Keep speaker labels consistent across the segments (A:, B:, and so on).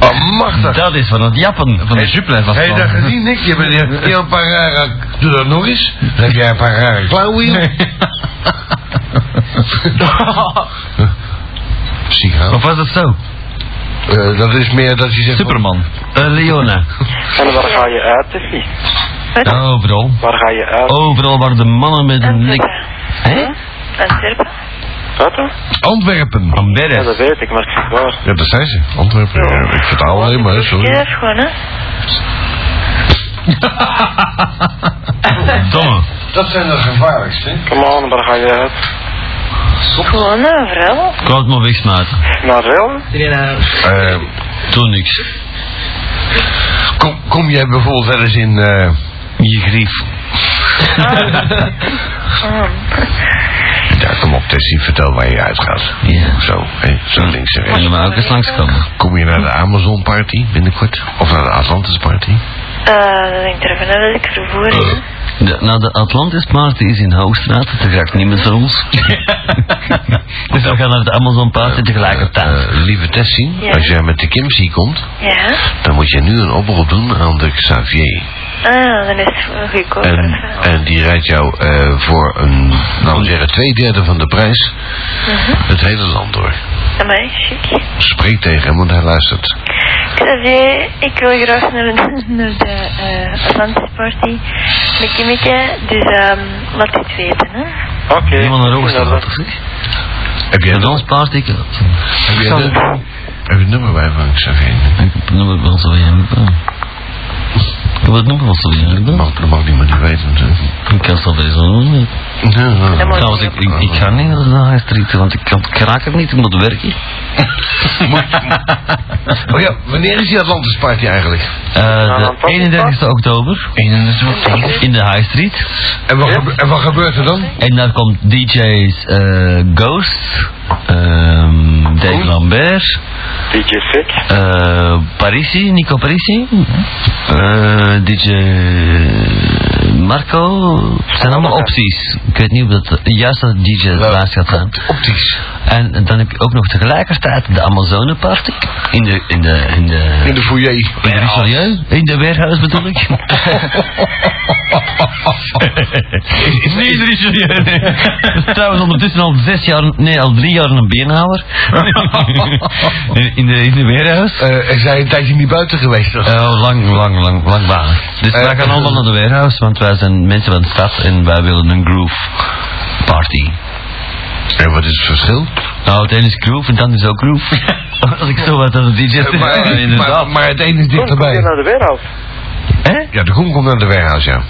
A: Allemachtig.
B: Dat is van het jappen van de suplex was
A: Heb je
B: dat.
A: dat gezien, Nick? Je bent hier- hier een paar rare... Doe dat nog eens. Dan heb jij een paar rare klauwen hier. Psycho.
B: Of was dat zo?
A: Eh, dat is meer dat je zegt...
B: Superman. Eh, Leona.
C: En waar ga je uit, of niet?
B: Overal.
C: Waar ga je uit?
B: Overal waar de mannen met een
A: Mhm.
B: lik...
D: Mhm.
B: Hé?
D: Antwerpen.
C: Wat dan?
A: Antwerpen.
C: Ja,
B: Amberes.
C: dat weet ik, maar ik zeg waar.
A: Ja, dat zijn ze. Antwerpen. Ja, ik vertaal alleen maar, hè,
D: Jij
A: sorry.
D: is gewoon, hè?
B: Domme.
A: Dat zijn de gevaarlijkste.
C: Kom aan, waar ga je uit?
D: Gewoon, hè, vrouw?
B: Ik wou het maar wegsmijten.
C: Naar Rel?
A: Eh,
B: Toen niks.
A: kom, kom jij bijvoorbeeld wel eens in... eh,
B: Je grief.
A: ja, kom op, Tessie, vertel waar je uitgaat.
B: Ja.
A: Zo, hè, zo links en
B: En
A: rechts.
B: dan maar ook eens langskomen.
A: Kom je naar de Amazon Party binnenkort? Of naar de Atlantis Party?
D: Eh, dat denk ik ervan uit dat ik ervoor
A: Eh.
D: ben.
B: De, nou, de Atlantis Party is in Hoogstraat. Daar raakt niemand van ons. dus we gaan naar de Amazon Party tegelijkertijd.
A: Eh, lieve Tessie,
D: Ja.
A: als jij met de Kimsey komt,
D: Ja?
A: dan moet je nu een oproep doen aan de Xavier.
D: Ah, dan is het gewoon goedkoper.
A: En, en die rijdt jou eh, voor een, laten we zeggen, twee derde van de prijs het hele land door.
D: Amai, chic.
A: Spreek tegen hem, want hij luistert.
D: Xavier, ik wil graag naar de, naar de eh, Atlantische party met Kimmeke, dus ehm, laat het weten, hè.
C: Oké.
B: Helemaal naar
C: Inderdaad.
B: Hoogstraat, of niet?
A: Heb jij
B: Met
A: dan?
B: ons party.
A: Heb jij de, heb je het nummer bij van Xavier?
B: Ik heb het nummer van Sylvia Lubin. Ik heb het nummer van Sylvia
A: Dat
B: Lubin.
A: mag, dat mag niemand niet weten natuurlijk.
B: Ik kan het wel zo
A: Ja, ja.
D: Dan moet
B: Trouwens, ik, ik, ik ga niet naar de Haag Street, want ik, kan, ik raak er niet, ik moet werken.
A: Oh ja, wanneer is die Atlantis Party eigenlijk?
B: Eh,
C: dan
B: de
C: past het
B: 31 oktober. In de High Street.
A: En wat, gebe- en wat gebeurt er dan?
B: En daar komt DJ's eh, Ghost, ehm, Dave
C: Goed.
B: Lambert,
C: DJ Fik.
B: eh, Parisi, Nico Parisi, eh, DJ Marco. Het zijn allemaal opties. Ik weet niet of dat juist dat DJ het
A: Wel,
B: laatst gaat zijn.
A: Optisch.
B: En dan heb je ook nog tegelijkertijd de Amazonenparty in de, in de, in de,
A: In de foyer.
B: in de Richelieu? In de warehouse bedoel ik? nee, de Richelieu, nee. Dat is trouwens ondertussen al zes jaar, nee, al drie jaar een beenhouwer. in, in de, in de warehouse.
A: Eh er zijn een tijdje niet buiten geweest. toch?
B: Eh, lang, lang, lang, lang baan. Dus
A: Eh,
B: wij gaan allemaal naar de warehouse, want wij zijn mensen van de stad en wij willen een groove party.
A: En wat is het verschil?
B: Nou, het ene is groove en dan is ook groove. Als ik zo wat aan de DJ zeg,
A: Eh,
B: ja,
A: maar,
B: inderdaad.
A: maar, maar het een is
C: Kom, Oh, kom je
A: dichterbij.
C: naar de wereld?
B: Hè?
A: Ja, de groen komt naar de warehouse, ja.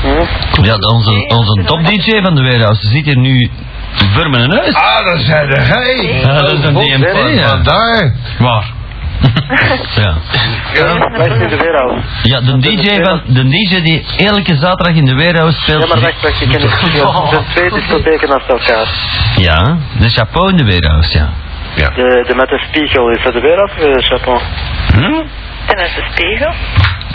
C: Hm?
B: Ja, onze, onze top-dj van de warehouse die zit hier nu voor mijn neus.
A: Ah, dat zijn er, hey!
B: Ja, dat is een
A: Oh,
B: DMP,
A: van-
B: ja.
A: van daar.
B: Waar? ja.
A: Ja.
C: Blijf in de wereld.
B: ja, de DJ, van, de DJ die elke zaterdag in de warehouse speelt.
C: Ja, maar wacht, wacht, je kent het verschil. Er zijn twee discotheken naast elkaar.
B: Ja, de chapeau in de warehouse, ja.
A: ja.
C: De, de met de spiegel, is dat de wereld of de chapeau?
B: Hm?
D: En uit de spiegel.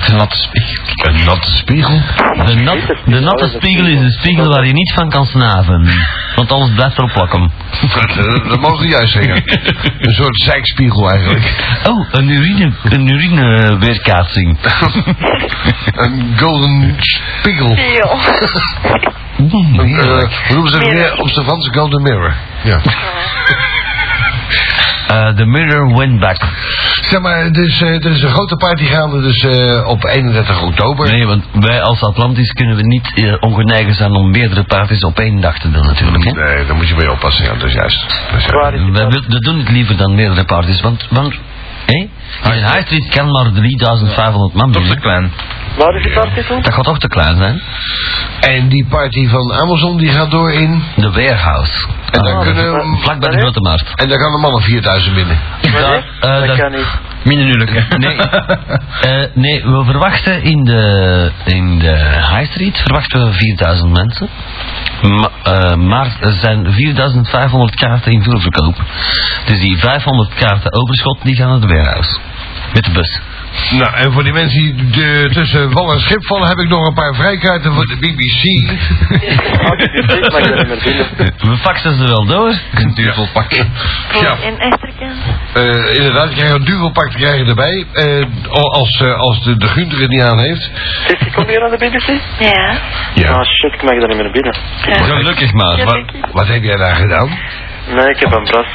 B: De natte spiegel.
A: Een natte spiegel.
B: De, nat, de natte spiegel is de spiegel waar je niet van kan snaven. Want alles blijft erop plakken.
A: Dat, eh, dat, dat mogen we juist zeggen. Een soort zeikspiegel eigenlijk.
B: Oh, een urine, een urine weerkaatsing.
A: Een golden spiegel.
D: Spiegel.
A: Een, eh, hoe noemen ze dat weer? Observance golden mirror. Ja.
B: Eh, the mirror went back.
A: Zeg maar, dus, eh, er is een grote party gaande dus, eh, op 31 oktober.
B: Nee, want wij als Atlantis kunnen we niet eh, ongeneigd zijn om meerdere parties op één dag te doen natuurlijk. Hè?
A: Nee, daar moet je mee oppassen, ja, dat is juist. Dat is
C: Waar
A: juist.
C: is
B: Wij, wil- we doen het liever dan meerdere parties, want, want hé, in een high street kan maar 3500 man binnen. klein.
C: Waar is die partitel?
B: Dat gaat toch te klein zijn?
A: En die party van Amazon die gaat door in.
B: De warehouse. Eh,
A: En dan kunnen we-
B: Vlak bij de
C: Wanneer?
B: grote markt.
A: En daar gaan de mannen 4000 binnen.
B: Daar,
C: Wanneer?
B: eh,
C: Dat
B: daar-
C: kan niet.
B: Minder Nee. Eh, nee, we verwachten in de, in de High Street verwachten we 4000 mensen. Ma- eh, maar er zijn 4500 kaarten in voorverkoop. Dus die 500 kaarten overschot die gaan naar de warehouse. Met de bus.
A: Nou, en voor die mensen die de, tussen wal en schip vallen, heb ik nog een paar vrijkaarten voor de BBC.
C: Ik maar ik ben er niet meer binnen.
B: We faxen ze wel door. Een duurvol pakken.
D: Voor in Esterken.
A: Eh, inderdaad, je krijgt een duvelpak krijg je erbij. eh, als eh, als de, de Gunder het niet aan heeft.
C: Sissy, kom je naar de BBC?
D: Ja.
A: Ja.
C: Ah shit, ik mag daar niet meer naar binnen.
D: ja.
B: Gelukkig maar.
D: Ja,
B: Wat,
D: dank je.
A: Wat heb jij daar gedaan?
C: Nee, ik heb een bras.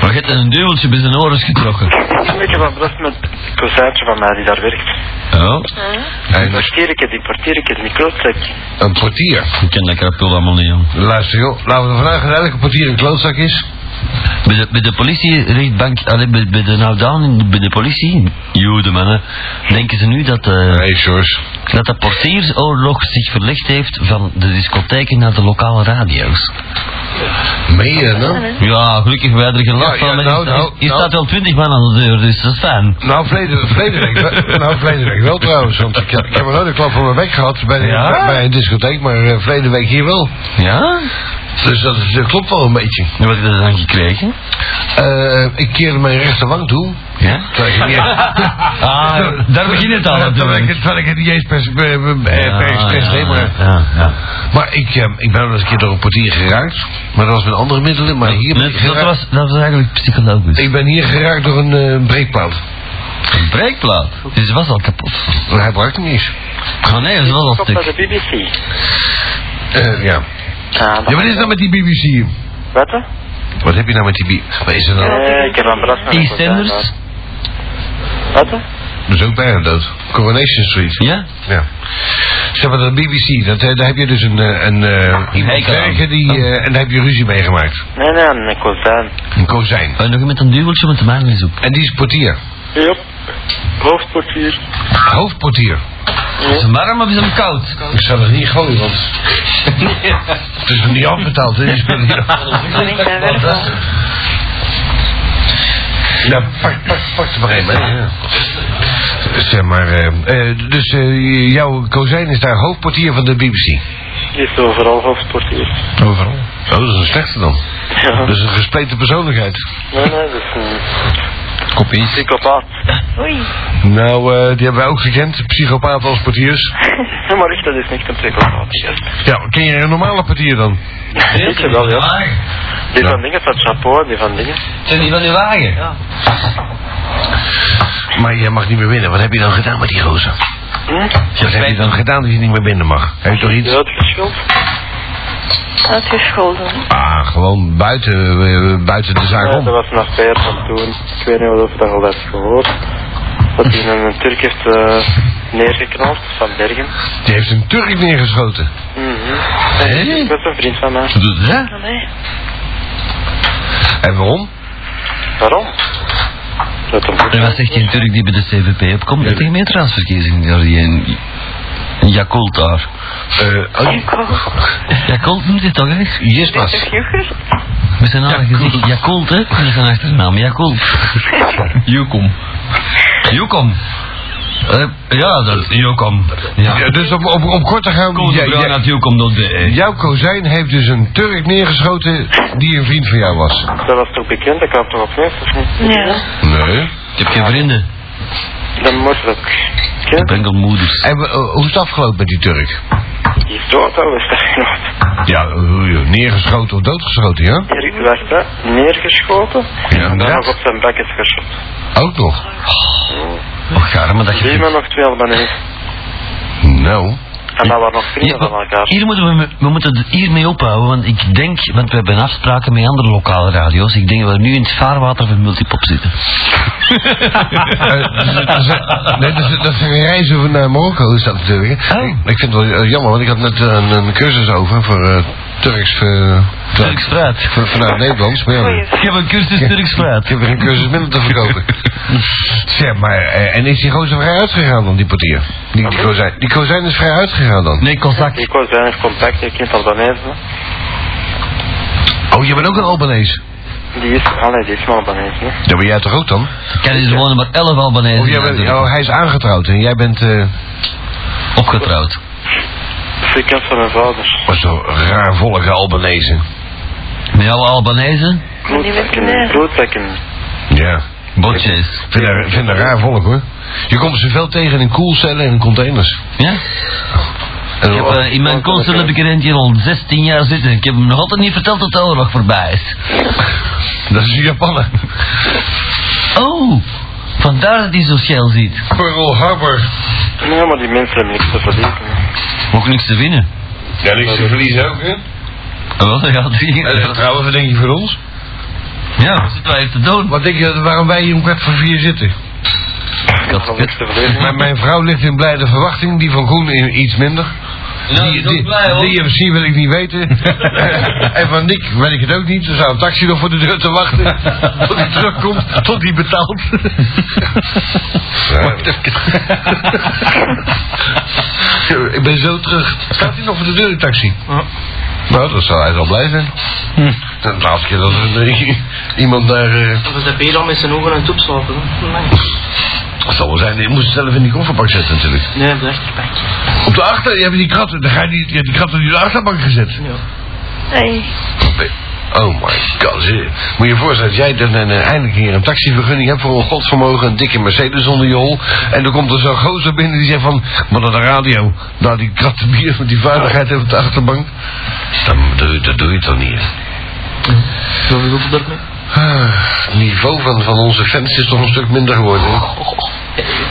B: maar je hebt een duweltje bij zijn oren getrokken.
C: Ik heb een bras met een kozijntje van mij die daar werkt.
B: Ja.
A: Oh. En
C: Portierke, die portierke, die klootzak.
A: een portier.
B: Ik ken dat krapul allemaal niet, jong.
A: Luister joh, laten we ervan uitgaan dat elke portier een klootzak is.
B: Bij de, bij de politierechtbank, allee, bij, bij de nou down, bij de politie, joede mannen, denken ze nu dat, eh,
A: Nee, George.
B: dat de portiersoorlog zich verlegd heeft van de discotheken naar de lokale radio's.
A: Meen je dat nou?
B: Ja, gelukkig wij er geen last
A: Ja, ja,
B: van. maar
A: nou,
B: er
A: nou,
B: er
A: nou.
B: staat wel twintig man aan de deur, dus dat is fijn.
A: Nou, verleden, verleden week, wel- nou, verleden week wel trouwens, want ik, heb- ik heb een hele klap van mijn bek gehad bij, de-
B: Ja?
A: bij een discotheek, maar eh verleden week hier wel.
B: Ja?
A: Dus dat, is- dat klopt wel een beetje.
B: Nu wat heb je er dan gekregen?
A: Eh, ik keerde mijn rechterwang toe.
B: Ja?
A: Terwijl ik,
B: Ah, daar begint het al
A: terwijl ik,
B: natuurlijk.
A: het- terwijl ik het niet eens per, se- per, per, per expres deed, maar...
B: ja, ja.
A: Maar ik, eh, ik ben wel eens een keer door een portier geraakt. Maar dat was met andere middelen. Maar hier ben ik,
B: Net- dat,
A: geraakt,
B: was, dat was eigenlijk psychologisch.
A: ik ben hier geraakt door een eh, breekplaat.
B: Een breekplaat. Dus het was al kapot.
A: Maar Hij brak hem niet eens.
B: Oh nee, dat is wel een
C: Kom naar
B: stuk.
C: de BBC.
A: Eh, ja.
C: Ah,
A: ja, wat is nou met die BBC?
C: Wat? hè?
A: Wat heb je nou met die BBC? Wat is er nou?
C: Nee, ik heb een bras met een
B: EastEnders?
C: kozijn, maar- Wat? hè?
A: Dat is ook bijna dood. Coronation Street.
B: Ja?
A: Ja. Zeg maar, dat BBC, dat, eh, daar heb je dus een, eh, een eh, iemand
B: Hekel aan.
A: werken die... eh, en daar heb je ruzie mee gemaakt.
C: Nee, nee, een kozijn.
A: Een kozijn.
B: En nog met een duweltje met de maan is op.
A: En die is portier.
C: Yep. Hoofdportier.
A: Hoofdportier.
B: Is het warm of is het koud?
A: Ik zal het niet gooien, want... het is nog niet afbetaald, hè, die spullen hier.
D: Ben ik daar wel van?
A: Ja, Nou, pak, pak, pak er maar een, hè. Ja. Zeg maar, eh, eh, dus eh, jouw kozijn is daar hoofdportier van de BBC.
C: Die is overal hoofdportier.
A: Overal. Oh, dat is een slechte dan.
C: Ja.
A: Dat is een gespleten persoonlijkheid.
C: Nee, nee, dat is een
A: Kopie.
C: psychopaat.
D: Oei.
A: Nou, eh, die hebben wij ook gekend, psychopaten als portiers.
C: Ja, maar echt, dat is niet een psychopaat.
A: Ja, ken je een normale portier dan?
C: Ik heb wel, ja. Die van dingen van chapeau, die van dingen.
B: Zijn die van die wagen? Ja.
A: Maar jij mag niet meer binnen. Wat heb je dan gedaan met die rozen?
C: Hm?
A: Wat heb je dan gedaan dat je niet meer binnen mag? Heb je toch iets?
C: Ja, het verschilt.
D: Uitgescholden.
A: Ah, gewoon buiten, eh, buiten de zaak
C: Ja,
A: om.
C: dat was een affaire van toen. Ik weet niet of je dat al hebt gehoord. Dat hij een Turk heeft eh, neergeknald van Bergen.
A: Die heeft een Turk neergeschoten.
C: Mhm.
A: Hé?
C: Dat is een vriend van mij.
A: Hè?
D: Allee.
A: En waarom?
C: Waarom? Dat is een
B: En wat zegt die Turk die bij de CVP opkomt? Dat tegen meer transverkiezingen daar die een... Een Yakult daar.
A: Eh, oh,
D: Ik ook.
B: Yakult moet dit toch, hè?
A: yes,
D: Toch
A: pas.
D: yoghurt?
B: Met zijn naam gezicht. Yakult, hè? Met zijn achternaam. Yakult. Jukom. Jukom. Eh, ja, dat is Jukom.
A: Ja,
B: Ja.
A: dus om, om, om kort te gaan, jij- jij-
B: Jukom.be.
A: jouw kozijn heeft dus een Turk neergeschoten die een vriend van jou was.
C: Dat was toch bekend, dat kwam toch op neus, of niet?
D: Ja.
A: Nee.
B: Ik heb geen vrienden.
C: Dan moet dat.
B: Ik
C: Kent?
B: ben enkel moeders.
A: En we- eh, hoe is het afgelopen met die Turk?
C: Die is dood al, is dat genoeg?
A: Ja, eh, neergeschoten of doodgeschoten, ja?
C: Erik werd hè, neergeschoten
A: Ja,
C: en dan
A: inderdaad.
C: nog op zijn bekken geschoten.
A: Ook nog. Oh,
B: Och, garme dat je...
C: Die man nog twee Albanese.
A: Nou.
C: En dat waren nog vrienden
B: Ja,
C: van elkaar.
B: Hier moeten we, me- we moeten het hiermee ophouden, want ik denk, want we hebben afspraken met andere lokale radio's, ik denk dat we nu in het vaarwater van Multipop zitten.
A: Eh, dat, is, nee, dat, is, dat is een reis over naar Marokko, is dat natuurlijk.
B: Oh.
A: Ik, ik vind het wel eh, jammer, want ik had net eh, een, een cursus over voor eh, Turks eh,
B: Turks fruit.
A: voor- vanuit Nederlands. Maar ja,
D: Goeie.
B: Ik heb een cursus Turks
A: ik
B: fruit.
A: heb weer een cursus minder te verkopen. zeg maar, eh, en is die gozer vrij uitgegaan dan, die portier? Die, die, kozijn, die kozijn is vrij uitgegaan dan?
B: Nee, Kozak.
C: Ik was weinig contact, ik kent Albanese. hè.
A: Oh, jij bent ook een Albanese?
C: Die is, allee, die is maar Albanese. hè.
A: Ja, ben jij toch ook dan?
B: Ken je er wonen maar 11 Albanese
A: Of jij bent, oh, hij is aangetrouwd en jij bent... eh
B: opgetrouwd.
C: Dus ik ken van mijn vader.
A: was zo'n raar volk Albanese.
B: Met alle Albanese,
D: ben niet met kinderen.
C: bloedzakken.
A: Ja.
B: botjes.
A: Ik vind dat, ik vind dat raar volk hoor. Je komt ze veel tegen in koelcellen en in containers.
B: Ja?
A: En
B: Ik heb,
A: dan-
B: eh, in mijn console heb ik er eentje al 16 jaar zitten. Ik heb hem nog altijd niet verteld dat de oorlog voorbij is.
A: Dat is een Japaner.
B: Oh, vandaar dat hij zo schel ziet.
A: Pearl Harbor.
C: Nee, maar die mensen hebben niks te verliezen.
B: Ook niks te winnen.
A: Ja, niks te verliezen ook, hè?
B: Ah, Wel, dat gaat
A: En,
B: hier.
A: trouwens, wat denk je voor ons?
B: Ja, wat zitten wij hier te doen?
A: Wat denk je dat- waarom wij hier om kwart voor vier zitten?
C: Ik heb niks te verliezen.
A: Mijn, mijn vrouw ligt in blijde verwachting, die van Groen in iets minder. die, die, die MC wil ik niet weten. en van Nick weet ik het ook niet. Er zou een taxi nog voor de deur te wachten. tot hij terugkomt, tot hij betaalt. ik ben zo terug. Staat hij nog voor de deur, die taxi? Nou, dat zou hij wel blij zijn. De laatste keer dat er, eh, iemand daar... eh,
E: We zijn hier al met zijn ogen aan het opslapen. hè. Amai.
A: Het zal wel zijn, je moet het zelf in die kofferbak zetten natuurlijk.
E: Nee, blijf er bij.
A: Op de achter, je hebt die kratten, dan ga je die, je hebt die kratten in de achterbank gezet.
D: Hey.
A: Oh my god, zie- moet je je voorstellen dat jij dan eh, eindelijk hier een taxivergunning hebt voor een godsvermogen, een dikke Mercedes onder je hol. En dan komt er zo'n gozer binnen die zegt van, maar naar de radio, nou die kratten bier met die veiligheid op de achterbank. Dan, doe- dat doe je toch niet. hè?
E: Zo veel op dat mee.
A: Ah, Het niveau van, van onze fans is toch een stuk minder geworden. hè?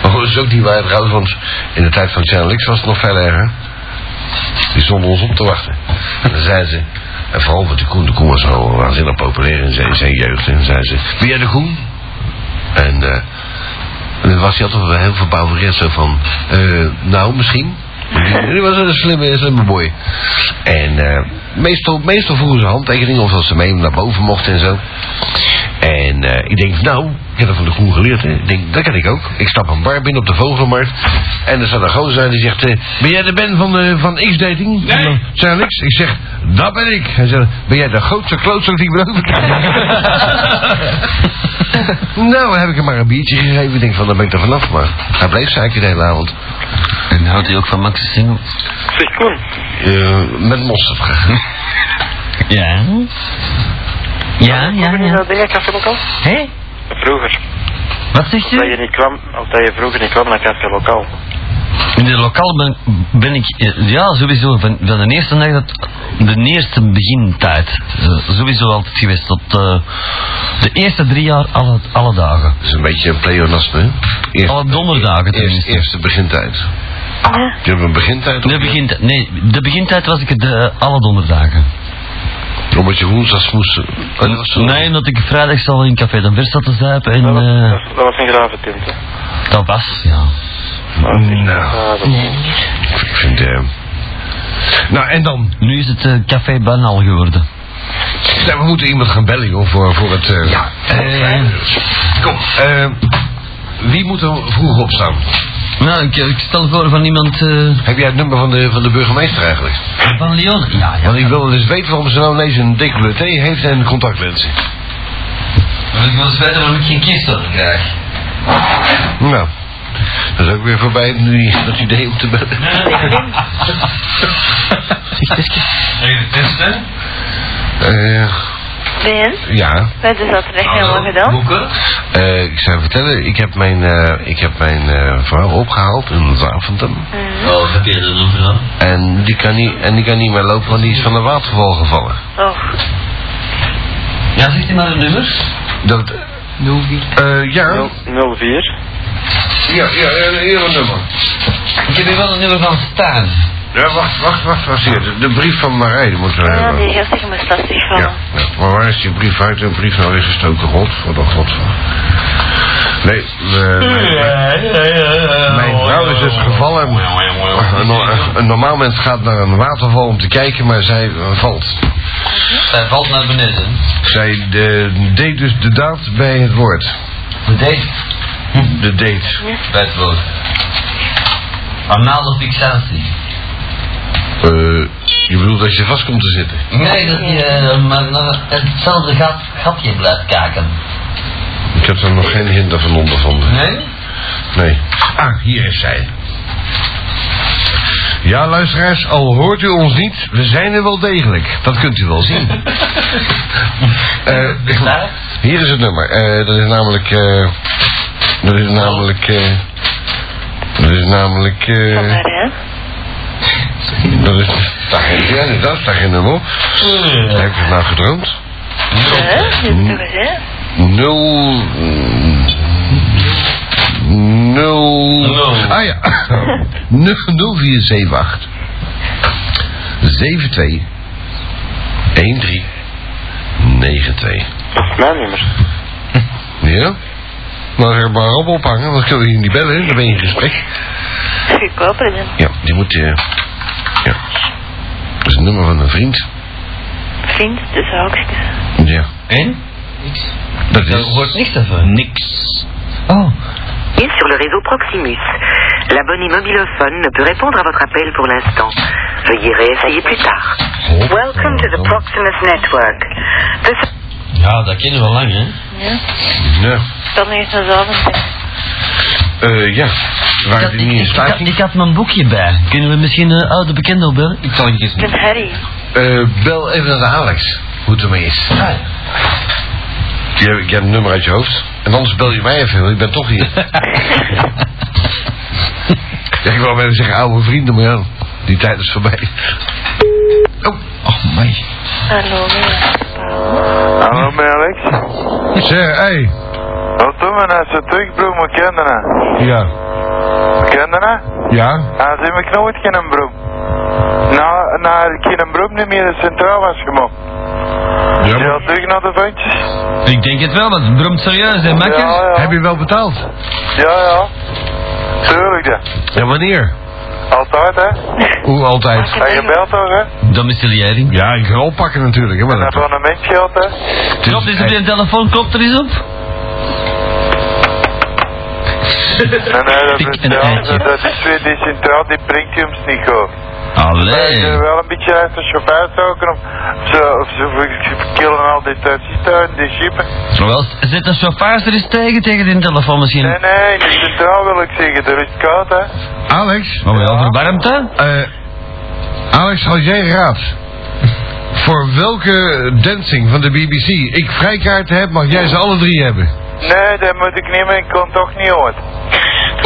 A: Oh, dat is ook niet waar trouwens, want in de tijd van Channel X was het nog veel erger. Die stonden ons op te wachten. En dan zei ze, en vooral met de Koen, de Koen was al waanzinnig populair in zijn, in zijn jeugd. En dan zei ze, ben jij de Koen? En, eh, en dan was hij altijd wel heel verbouwereerd zo van, eh, nou misschien. Die was een slimme, slimme boy. En eh, meestal, meestal vroegen ze handtekeningen of dat ze mee naar boven mochten en zo. En eh, ik denk, nou, ik heb dat van de Groen geleerd. Hè. Ik denk, dat kan ik ook. Ik stap een bar binnen op de Vogelmarkt. En er staat een gozer aan die zegt, eh, ben jij de Ben van, eh, van X-Dating? Nee. Zijn niks? Ik zeg, dat ben ik. Hij zegt, ben jij de grootste klootzak die ik ben nou, heb ik hem maar een biertje gegeven. Ik denk van, dan ben ik er vanaf. Maar hij bleef zeiken de hele avond.
B: En houdt hij ook van Max's single?
C: Zeg Koen,
A: Eh, met mosterd graag.
B: Ja. Ja,
C: kom
B: Ah, ja,
C: je niet
B: ja.
C: naar dingen Café Lokaal?
B: Hé?
C: Vroeger.
B: Wat zegt
C: Dat
B: u?
C: je niet kwam, of dat je vroeger niet kwam naar Café Lokaal.
B: In de lokaal ben, ben ik, eh, ja, sowieso, van, van de eerste dag, dat, de eerste begintijd, eh, sowieso altijd geweest, tot eh, de eerste drie jaar, alle, alle dagen.
A: Dat is een beetje een pleonasme. hè? Eerst-
B: Alle donderdagen
A: eerst,
B: tenminste.
A: eerste begintijd. Je hebt een begintijd?
B: De begintijd, nee, de begintijd was ik er de, eh, alle donderdagen.
A: Omdat je woensdags moest... Oh, dat was zo.
B: Nee, omdat ik vrijdag al in Café Dan Vers zat te zuipen en
C: Dat was,
B: eh,
C: dat- dat was een grave tint. hè.
B: dat was, ja.
A: Nou,
C: Ah, dat-
A: ik vind... eh, Nou, en dan?
B: Nu is het eh, Café Banal geworden.
A: Nou, we moeten iemand gaan bellen, joh, voor, voor het... eh,
B: Eh,
A: Kom, eh, wie moet er vroeg opstaan?
B: nou, ik, ik stel voor van iemand eh,
A: Heb jij het nummer van de, van de burgemeester eigenlijk?
B: van Leon. Ja, ja.
A: Want ik wil dus weten waarom ze nou ineens een decolleté heeft en contactlenzen.
B: Ik wil eens weten waarom ik geen kiestel krijg.
A: Nou, dat is ook weer voorbij nu die- dat idee om te bellen.
B: Even testen.
A: Eh,
D: Ben,
A: ja.
D: we hebben dat echt helemaal gedaan.
B: Boeken.
A: Eh, ik zou vertellen, ik heb mijn, eh, ik heb mijn eh, vrouw opgehaald in Zaventem.
B: Oh, heb je dat overal?
A: En die, kan niet, en die kan niet meer lopen, want die is van een waterval gevallen.
D: Oh,
B: Ja, zegt hij maar een nummer?
A: Dat, eh, ja, ja,
C: 04.
A: ja, eh, hier een nummer.
B: Ik heb hier wel een nummer van Staan.
A: Ja, wacht, wacht, wacht, wacht hier. De, de brief van Marij, die moeten we
D: ja,
A: hebben.
D: die heeft zich me lastig
A: Ja,
D: van.
A: ja. maar waar is die brief uit en brief nou weer gestoken? God, voor de god van. Nee, eh, mijn vrouw is dus gevallen. Een, een normaal mens gaat naar een waterval om te kijken, maar zij eh, valt.
B: Hij valt naar beneden.
A: Zij de, deed dus de daad bij het woord. Hm,
B: Beneden?
A: De deed.
B: Bij het woord. Anale fixatie.
A: Eh, je bedoelt dat je vast komt te zitten?
B: Nee, dat je eh, maar naar hetzelfde gat, gatje blijft kijken.
A: Ik heb er nog geen hinder van ondervonden.
B: Nee?
A: Nee. Ah, hier is zij. Ja, luisteraars, al hoort u ons niet, we zijn er wel degelijk. Dat kunt u wel zien. Eh, hier is het nummer. Eh, dat is namelijk... eh, dat is namelijk... eh, dat is namelijk... eh,
D: Van haar, hè?
A: dat is... Daar, ja, dat is daar geen nummer op. Heb ik het nou gedroomd?
D: Hè? Dus nog eens, hè?
A: Nul... Nul... Ah ja. 0478. 72. 13. 92.
C: Dat is mijn nummer.
A: Ja? Maar er maar op ophangen, anders kunnen we je niet bellen, hè. dan ben je in gesprek.
D: Goedkoper dan.
A: Ja, die moet... eh, ja. Dat is het nummer van een vriend.
D: Vriend, dus hoogste.
A: Ja.
B: En?
E: Niks.
A: Dat
B: Dat
A: is...
B: hoort niks daarvan. Niks. Oh.
F: Sur le réseau Proximus. L'abonné mobilophone ne peut répondre à votre appel pour l'instant. Veuillez réessayer plus tard. Welcome to the Proximus Network. This
B: Ja, dat kennen we al lang, hè?
D: Ja.
A: Ja.
D: Tot nog eens naar de avond. hè.
A: Eh, ja. Waar die niet in staat.
B: ik had mijn boekje bij. Kunnen we misschien een oude bekende opbellen?
E: Ik zal je eens
D: Met Harry.
A: Eh, bel even naar de Alex. Hoe het ermee is. Je, je hebt een nummer uit je hoofd. En anders bel je mij even, want ik ben toch hier. ja, ik wou bijna zeggen oude vrienden, maar ja, die tijd is voorbij. Oh, oh mij.
D: Hallo, ja.
G: Hallo, ben je Alex?
A: Zeg, hé. Hey.
G: Wat doen we nou zo terug, broer, mijn kinderen?
A: Ja.
G: Mijn kinderen?
A: Ja?
G: Ah, ze hebben ik nooit geen broer. Nou, nou, ik geen broer niet meer in Centraal was gemaakt.
A: Ja,
G: Ja,
A: maar-
G: terug naar de ventjes.
B: Ik denk het wel, want het bromt serieus, hè,
G: Ja,
B: makker?
G: ja.
A: Heb je wel betaald?
G: Ja, ja. Tuurlijk, ja.
A: Ja, wanneer?
G: Altijd, hè.
A: Hoe altijd?
G: En je belt toch, hè.
B: Domiciliaring.
A: Ja, ik ga oppakken natuurlijk, hè, maar
G: Dat
A: dat...
G: van een mens geldt, hè.
B: Klopt eens op je telefoon, klopt er eens op.
G: Nee, nee, dat
B: Ik
G: is,
B: een eitje.
G: ja, dat is weer die Centraal, die brengt je hem niet, hoor.
B: Allee.
G: Je wel een beetje uit de chauffeur zoeken, of ze, of ze killen al die tuin, die schiepen.
B: Wel, zet een chauffeur er eens tegen, tegen die telefoon misschien.
G: Nee, nee, in de centraal wil ik zeggen, er is koud, hè.
A: Alex?
B: Maar Oh, wel verwarmd, hè?
A: Eh, Alex, als jij raadt voor welke dancing van de BBC ik vrijkaarten heb, mag jij ze alle drie hebben.
G: Nee, dat moet ik niet meer, ik kon toch niet ooit.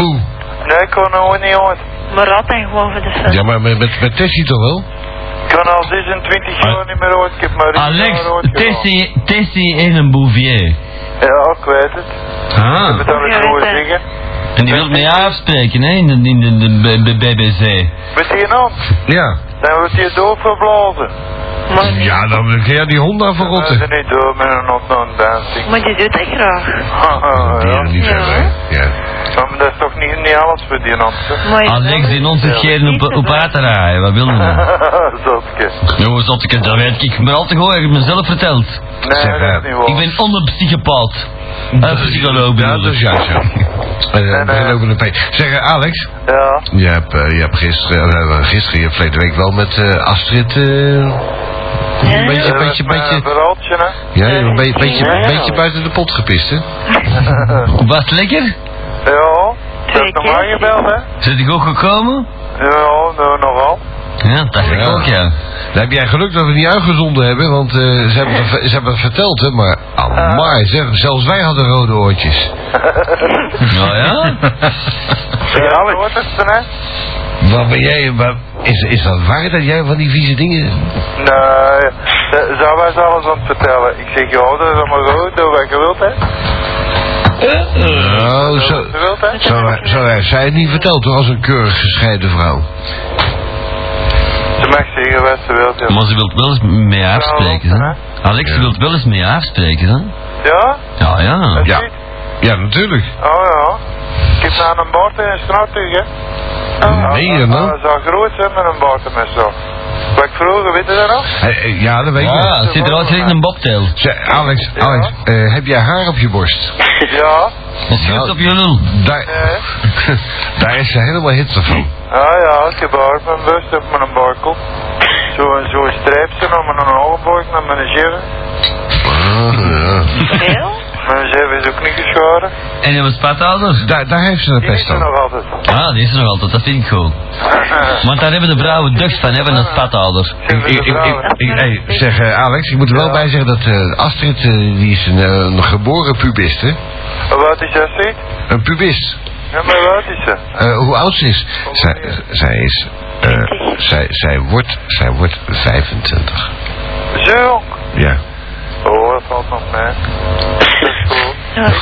A: Oeh.
G: Nee, ik kon ook niet ooit.
D: Maar altijd gewoon voor de film.
A: Ja, maar met, met, met Tessie toch wel?
G: Ik kan al 26 jaar niet meer ooit, ik heb maar
B: Alex,
G: ooit gedaan.
B: Tessie, Tessie en een Bouvier.
G: Ja, ik weet het.
B: Ah.
G: Ik moet alles
D: Ja,
G: goed
D: weet het.
G: zeggen.
B: En die wil met jou afspreken, hè, in de, in de, de- de- de BBC.
G: Met die hand,
A: Ja.
G: dan wordt je doodverblazen.
D: Maar, nee.
A: Ja, dan ga jij die Honda
G: Eh, Dan
A: verrotten.
G: is niet door met een ontnoemd dancing.
D: maar die doet dat graag.
G: ja.
A: niet
D: Ja.
A: verder, hè? eh, Ja.
G: Maar dat is toch niet, niet alles voor die hand, hè.
D: Maar
A: Ah,
D: je-
B: Alex in onze geer op, op uit te rijden, wat wil je nou?
G: Zotke.
B: Jongens, Zotteke, dat weet ik maar al te goed, ik heb mezelf verteld.
G: Nee,
A: Zeg,
G: dat
A: eh,
G: is niet
B: Ik
G: waar.
B: ben onderpsychopaat. Eh, psycholoog
A: Ja,
B: bedoel
A: dat is
B: ik.
A: juist, ja.
G: nee.
A: Eh, we gaan over de pijn. Zeg, eh, Alex,
G: Ja,
A: je hebt, eh, je hebt gisteren, eh, gisteren, je hebt verleden week wel met eh, Astrid... eh een beetje,
G: dat is
A: beetje,
G: maar een
A: beetje,
G: verhaaltje, hè.
A: ja, je hebt een beetje, beetje, beetje buiten de pot gepist, hè?
B: Was het lekker?
G: Ja, dat
D: Twee
G: is normaal
D: keer.
G: gebeld, hè.
B: Zit ik ook gekomen?
G: Ja, nou, nogal.
B: Ja, dat dacht ik
A: Ja.
B: ook, ja.
A: Dan heb jij geluk dat we het niet uitgezonden hebben, want eh, ze, hebben het, ver- ze hebben het verteld, hè, maar amai, zeg, zelfs wij hadden rode oortjes.
B: Nou ja?
G: Ja, Alex. Hoort het, hè?
A: Wat ben jij, wat, is, is dat waar dat jij van die vieze dingen...
G: Nee, ze- zij was alles aan het vertellen. Ik zeg, ja, dat is allemaal goed, doe wat je wilt, hè.
A: Oh, zo,
B: Eh,
G: Doe wat je wilt, hè.
A: zo, zo heeft zij het niet verteld, hoor, als een keurig gescheiden vrouw.
G: Ze mag zeggen wat ze wilt, ja.
B: Maar ze wilt wel eens mee afspreken, hè? Alex, ze wilt wel eens mee afspreken, hè?
G: Ja?
B: Ja, ja.
G: Dat
A: Ja.
G: ziet.
A: Ja, natuurlijk.
G: Oh, ja. Ik heb nou een baard en een snor terug, hè.
A: Oh, nee,
G: Ah,
A: man.
G: ah, ah, Zo groot, hè, met een baard en met zo. Wat ik vroeger, weet je dat nog?
A: Eh, eh, Ja, dat weet ik
B: Ja,
A: wel.
B: het zit eruit gelijk een bobtail.
A: Zeg, Alex, Alex eh, heb jij haar op je borst?
B: Eh.
G: Ja.
B: Het schudt op je lul.
A: Daar,
G: Nee.
A: daar is ze helemaal hitser van.
G: Ah ja, ik heb haar mijn bus op mijn barkel. Zo'n zo streepje om mijn hoogboog naar mijn zeven.
A: Ah, ja.
D: Veel?
G: Mijn zeven is ook niet geschoren.
B: En je spatouder?
A: daar, daar heeft ze een
G: Die is
A: pest
G: er
A: aan.
G: nog altijd.
B: Ah, die is er nog altijd, dat vind ik goed. Want daar hebben de vrouwen ducht van, hebben een spatouder.
A: Ik, ik, ik, ik, ik- hey, zeg eh, Alex, ik moet er wel bij zeggen dat eh, Astrid, eh, die is een, eh, een geboren pubist, hè?
G: Wat is dat, ziet?
A: Een pubist.
G: Ja, maar wat is ze?
A: Eh, hoe oud ze is? Zij, zij is... eh, zij, zij, wordt, zij wordt 25.
G: Zo.
A: Ja.
G: Oh, hè. Dat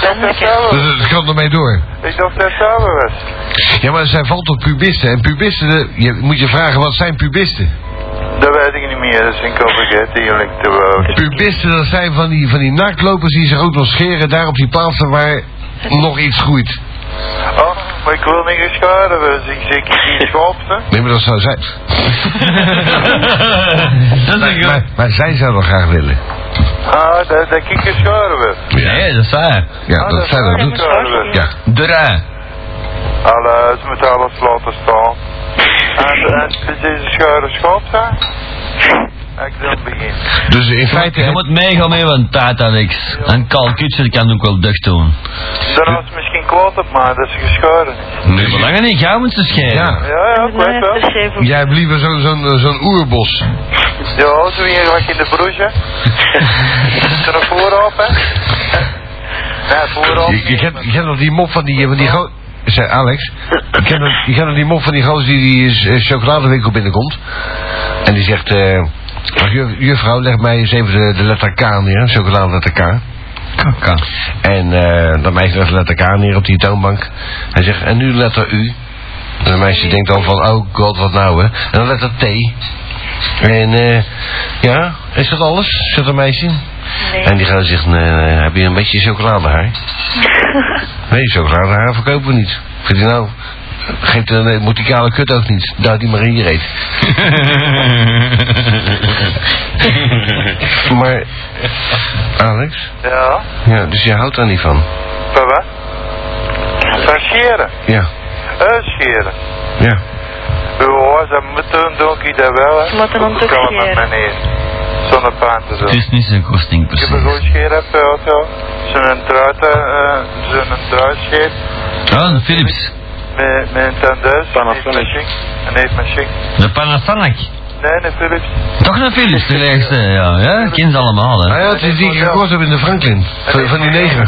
G: is cool.
D: Dat was
G: Ik dacht dat
D: pijnlijk, hè.
G: samen,
A: Dus het kan ermee door.
G: ik dacht dat samen was.
A: Ja, maar zij valt op pubisten. En pubisten, eh, je moet je vragen, wat zijn pubisten?
G: Dat weet ik niet meer, dat is een vergeten, jullie te wouden.
A: Pubisten, dat zijn van die, van die naaktlopers die zich ook nog scheren daar op die plaatsen waar nog iets groeit.
G: Oh, maar ik wil niet geschaden worden, dus ik zeg ik niet schopte.
A: Nee, maar dat zou zij.
B: dat is een
A: Maar,
B: goed.
A: maar zij zou dat graag willen.
G: Ah, dat, dat ik geschaden werd.
B: Nee, dat is waar.
G: Oh,
A: Ja, Ah, dat zij dat
D: Ja,
A: doet.
D: maar sorry.
A: Ja.
B: De rij.
G: Alles met alles laten staan. En, en het is een schare schop daar. Ik wil beginnen.
A: Dus in feite...
B: Je moet meegaan met een taart, Alex. En Carl Kutcher kan ook wel deugd doen.
G: Daar was misschien kwaad op mij, dat ze geschoren is.
B: Nu belangen niet, gaan met ze scheren.
A: Ja.
G: Ja, ja, ik weet wel.
A: Jij hebt liever zo'n zo'n zo'n oerbos.
G: Ja, zo hier wat in de broesje. Is er een voorop, hè? Nee, voorop.
A: Je, je, kent, je kent nog die mop van die, van die gozer... Zei Alex. Je kent, nog- je kent nog die mop van die gozer die die is- eh, chocoladewinkel binnenkomt. En die zegt... eh, "Ach, juf- juffrouw, leg mij eens even de, de letter K neer. Chocoladeletter K.
B: Kaka.
A: En eh, dat meisje legt de letter K neer op die toonbank. Hij zegt, en nu letter U. En dat meisje denkt dan van, oh god, wat nou hè. En dan letter T. En eh, ja, is dat alles? Zegt een meisje.
D: Nee.
A: En die gaat zegt, nee, nee, heb je een beetje chocoladehaar? nee, chocoladehaar verkopen we niet. Vindt hij nou, geeft een, eh, moet die kale kut ook niet. Daar die maar in je reet. maar, Alex,
G: Ja,
A: ja, dus je houdt daar niet van.
G: van wat? Van scheren.
A: Ja,
G: Uitscheren.
A: ja.
G: Ja, ze moeten doen, ik dat wel, hè?
D: Laten we hem
G: Ik kan het
D: terugscheren.
G: met meneer. Zonnepaan te doen.
B: Het is niet zo'n goed ding
G: Ik heb een
B: precies.
G: goed scheer op de auto. Zo'n truit, eh, zo'n truitscheer.
B: Oh, de Philips.
G: Met, met een tandeus.
C: Panasonic.
G: Een heetmachine.
B: De Panasonic.
G: Nee, nee, Philips.
B: Toch een Philips, de eerste, ja. ja kind ze allemaal,
A: Nou
B: hè.
A: ja, het is die ik gekocht heb in de Franklin. Van, van die neger.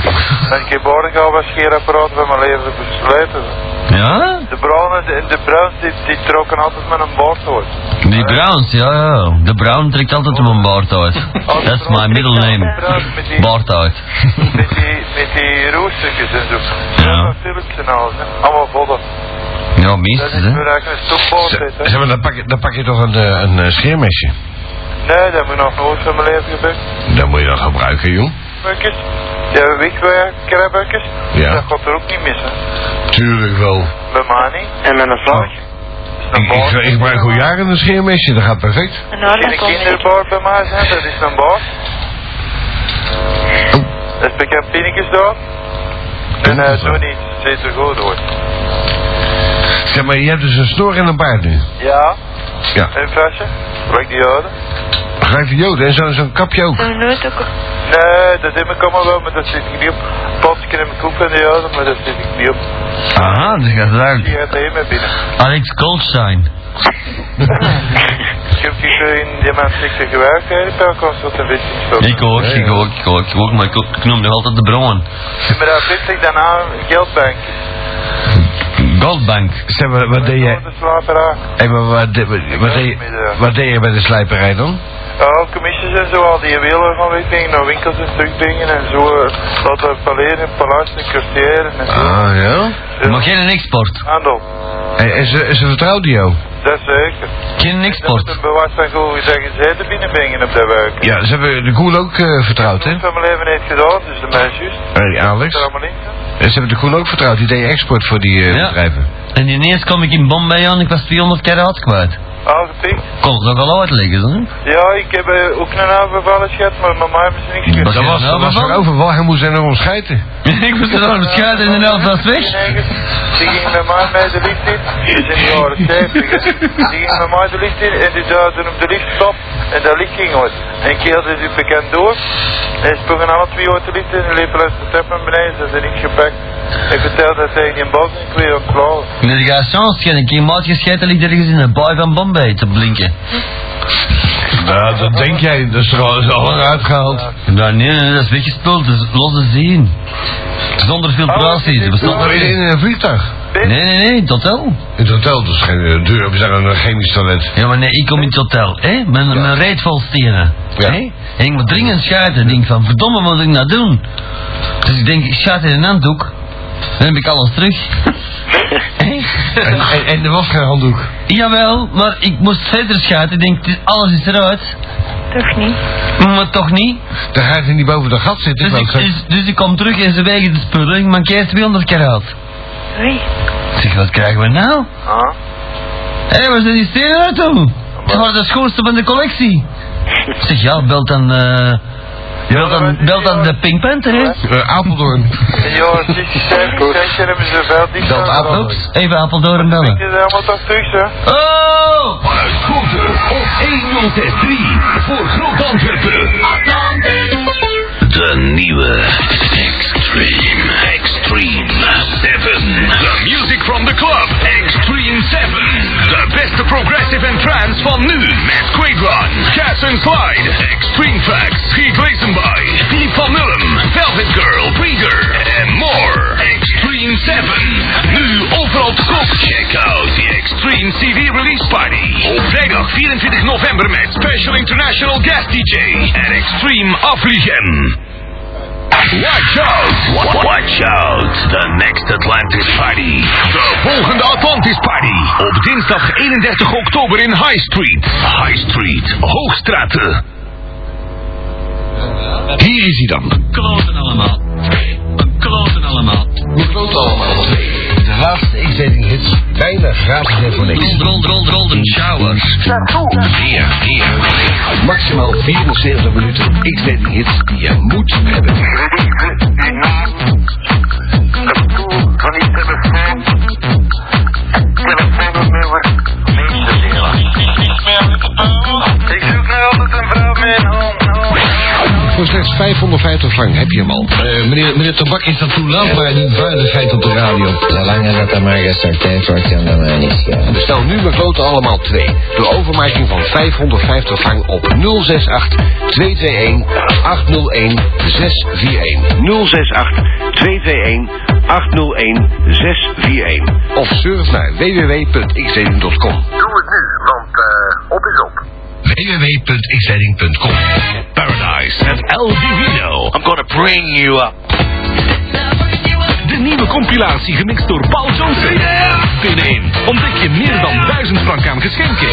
G: En ik heb ook al wat scheerapparaat van mijn leven versleten.
B: Ja?
G: De bruine, de, de bruins, die, die trokken altijd met een boord hoor.
B: Die Browns, ja, ja. De Brown trekt altijd op een baard uit. That's my middle name. Baard uit.
G: Met die, met die roerstukjes en zo.
B: Ja.
G: Philips en alles, hè. Allemaal vodden.
B: Ja,
G: Dat is
B: minstens, hè.
G: weer eigenlijk een stopboord
A: Ze-
G: zitten.
A: Zeg maar, dan pak, je- dan pak je toch een, eh, een eh, scheermesje.
G: Nee, dat moet nog nooit van mijn leven gebeuren.
A: Dat moet je dan gebruiken, joh.
G: Krabbekjes, ja, wikkerbeukjes,
A: Ja.
G: dat gaat er ook niet missen.
A: Tuurlijk wel.
G: Bij mij niet.
C: En met een vlag.
G: Dat
A: Ik,
G: is een
A: ik, ik gebruik al jaren een scheermesje, dat gaat perfect.
D: Een
G: In een
D: oorlog om
G: kinderbar bij mij zijn, dat is een bar. Dat is bekend pinnetjes daar. En eh, zo niet, zit er goed hoor.
A: Zeg maar, je hebt dus een snor en een baard nu.
G: Ja,
A: Ja.
G: een flesje, Wat die houden.
A: Gebruik de joden en zo'n zo'n kapje ook.
D: Zullen we nooit ook
G: Nee, dat heb ik allemaal wel, maar dat zit ik niet op. Pas in mijn koek van die houden, maar dat zit ik niet op.
B: Aha, dat gaat
G: Die
B: eruit.
G: gaat er mee binnen.
B: Alex Goldstein.
G: Ik heb hier in die man zeker gewerkt, hè, daar komt tot een beetje zo.
B: Ik ook, ik ook, ik ook, ik ook, maar ik, ik noem nog altijd de Brown.
G: Maar dat vind ik daarna geldbank.
B: Goldbank.
A: Zeg maar, wat deed
G: Ja.
A: jij,
G: De slaperaar.
A: hey, maar wat, de- wat, wat deed, wat deed je bij de slijperij dan?
G: Ja, eh, commissies en zo, al die wielen gaan wegbrengen, naar winkels en terugbrengen en zo. eh, Dat er paleer en paleis en kwartier en zo.
A: Ah, ja.
G: Dus
B: Maar geen export.
G: Handel,
A: En, en ze, en ze vertrouwde jou?
G: dat zeker.
B: Geen
G: Dat moet
B: export.
G: een bewijs van hoe ze gezeten binnenbrengen op dat werk.
A: Ja, ze hebben de Koen ook eh, vertrouwd, hè?
G: Ik heb mijn leven niet gedaan, dus de meisjes, dat
A: Eh, Alex.
G: is allemaal niet.
A: En ze hebben de Koen ook vertrouwd, die deed export voor die eh,
B: Ja.
A: bedrijven.
B: En ineens kwam ik in Bombay aan, ik was 200 karaat kwijt.
G: Al gepikt.
B: Kon het nog wel uitleggen, hè?
G: Ja, ik heb eh, ook een aanbevallen gehad, maar met mij hebben ze niks
B: Dat
A: Dat
B: is
A: was,
B: nou
A: dat was
B: bevallen.
A: er overval, hij moest er nog om scheiden.
B: ik moest er aan het schuiten en de helft was
G: Die
B: weg.
G: negers, Die gingen met mij mee de lift in. Die zijn in de jaren 70. hè. Die gingen met mij de lift in en die duwden op de liftstop. En dat licht ging uit. En ik keerde die bekend door. En ze sprongen alle twee uit de lift in en liepen langs de trap naar beneden. Ze zijn niet gepakt. Ik vertelde dat tegen die boos en ik weer ontklauwen.
B: In de chance geen ik maat gescheten ligt ergens in de baai van Bombay te blinken.
A: Nou, dat denk jij, dat is er al, is al lang uitgehaald.
B: Nou, nee, nee, dat is weggespeeld, dat is losse zien. Zonder filtratie, er bestond
A: Stond
B: er
A: er Nou, in een vliegtuig.
G: bed?
B: Nee, nee, nee, het hotel.
A: In het hotel, dus geen eh, deur op, is daar een chemisch toilet.
B: Ja, maar nee, ik kom in het hotel, hè? Mijn, mijn reet vol stenen.
A: Ja.
B: Hè? En ik moet dringend schuiten. Ik denk van, verdomme, wat moet ik nou doen? Dus ik denk, ik schuit in een handdoek. Dan heb ik alles terug. Hè?
A: En, en, en er was geen handdoek.
B: Jawel, maar ik moest verder schuiten. Ik denk, het is- alles is eruit.
D: Toch niet?
B: Maar toch niet.
A: Dan gaat hij niet boven dat gat zitten.
B: Dus
A: want
B: ik,
A: zo-
B: dus, dus ik kom terug en ze wegen de spullen. Ik mankeer 200 karaat.
D: Oei.
B: Ik zeg, wat krijgen we nou?
G: Ah,
B: Hé, waar zijn die stenen uit dan? Het waren de schoonste van de collectie. Ik zeg, ja, bel dan, eh bel dan, bel dan de Pink Panther, hè?
A: Eh, Apeldoorn.
G: ja, het is sterk, zeker hebben ze veel dicht
A: Dat
G: aan de
A: appel.
G: hand.
B: Oeps, even Apeldoorn
G: Ik
B: bellen.
G: is helemaal toch terug, hè?
B: Oh!
H: Vanuit Koten op 106.3 voor Groot Antwerpen. De nieuwe Extreme. Extreme 7. The music from the club. Extreme 7. De beste progressive en trance van nu. Met Quick Run, Cash and Slide. Extreme Tracks. Piet Weisenby. Piet van Willem. Velvet Girl. Breeder. En more. Extreme 7. Nu overal te koop. Check out the Extreme CD Release Party. Op vrijdag 24 november met Special International Guest DJ en Extreme Afvliegen. Watch out! Wa- wa- Watch out! The next Atlantis Party. De volgende Atlantis Party. Op dinsdag 31 oktober in High Street. High Street, Hoogstraten. Hier is hij dan.
B: Kloten allemaal. Kloten allemaal.
A: De laatste X-dating hits. Bijna gratis en voor niks.
B: Golden showers.
H: Hier, hier.
A: Maximaal 74 minuten X-dating hits die je moet hebben.
G: Ik zoek nu altijd een vrouw met
A: Voor slechts 550 frank heb je hem al. Eh, meneer, meneer Tabak, is dat toelaatbaar? Die vuiligheid op de radio.
I: Zolang dat dat maar gesorteerd wordt, kan dat mij niet schelen.
A: Bestel nu McLoten allemaal 2. Door overmaking van 550 frank op 068 221 801 641. 068 221 801 641. Of surf naar www.xzeding.com.
H: Doe het nu, want eh, op is op.
A: www.xzeding.com
H: Paradise at El Divino. I'm gonna bring you up. De nieuwe compilatie gemixt door Paul Johnson. Binnen ontdek je meer dan 1000 frank aan geschenken.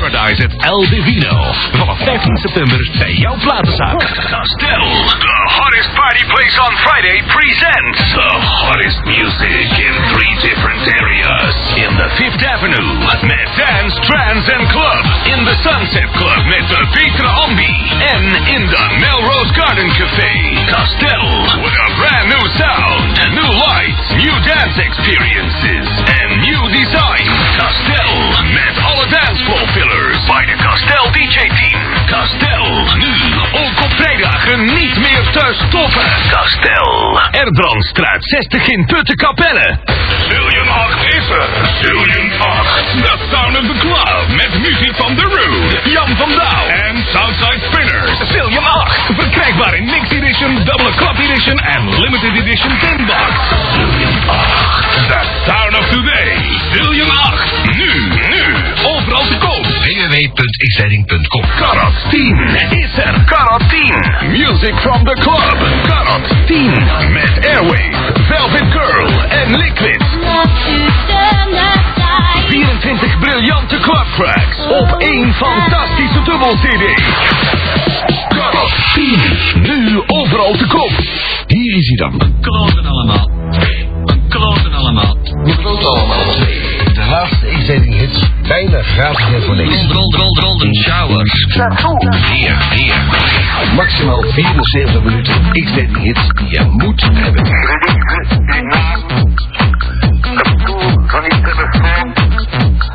H: Paradise at El Divino. Vanaf 15 september bij jouw platenzaak. Stel, the hottest party place on Friday presents the hottest music in three different areas. In the Fifth Avenue met Dance, Trans and Club. In the Sunset Club met de Petra Ambi. En in the Melrose Garden Café. Castel with a brand new sound, new lights, new dance experiences, and new design. Castel met alle dancefloor fillers bij de Castel DJ team. Castel nu ook op vrijdagen niet meer te stoppen. Castel Erbrandstraat 60 in Puttenkapelle. Billion 8 is er. Billion 8. The sound of the club met muziek van The Rude, Jan van Douw en Southside Spinners. Billion 8 verkrijgbaar in mixed edition, double club edition en limited edition tin box. Billion 8. The sound of today. Billion 8. Nu, nu. Overal te koop.
A: www.xzeding.com
H: Karat 10 is er. Karat 10. Music from the club. Karat 10. Met Airways, Velvet Girl en Liquid. 24 briljante clubtracks op één fantastische dubbel CD. Karat 10. Nu overal te koop. Hier is hij dan.
B: Kloten allemaal. Kloten allemaal.
A: De laatste X-dating hits. Bijna gratis en voor niks.
B: Golden showers.
H: Hier, hier.
A: Maximaal 74 minuten X-dating hits die je moet hebben.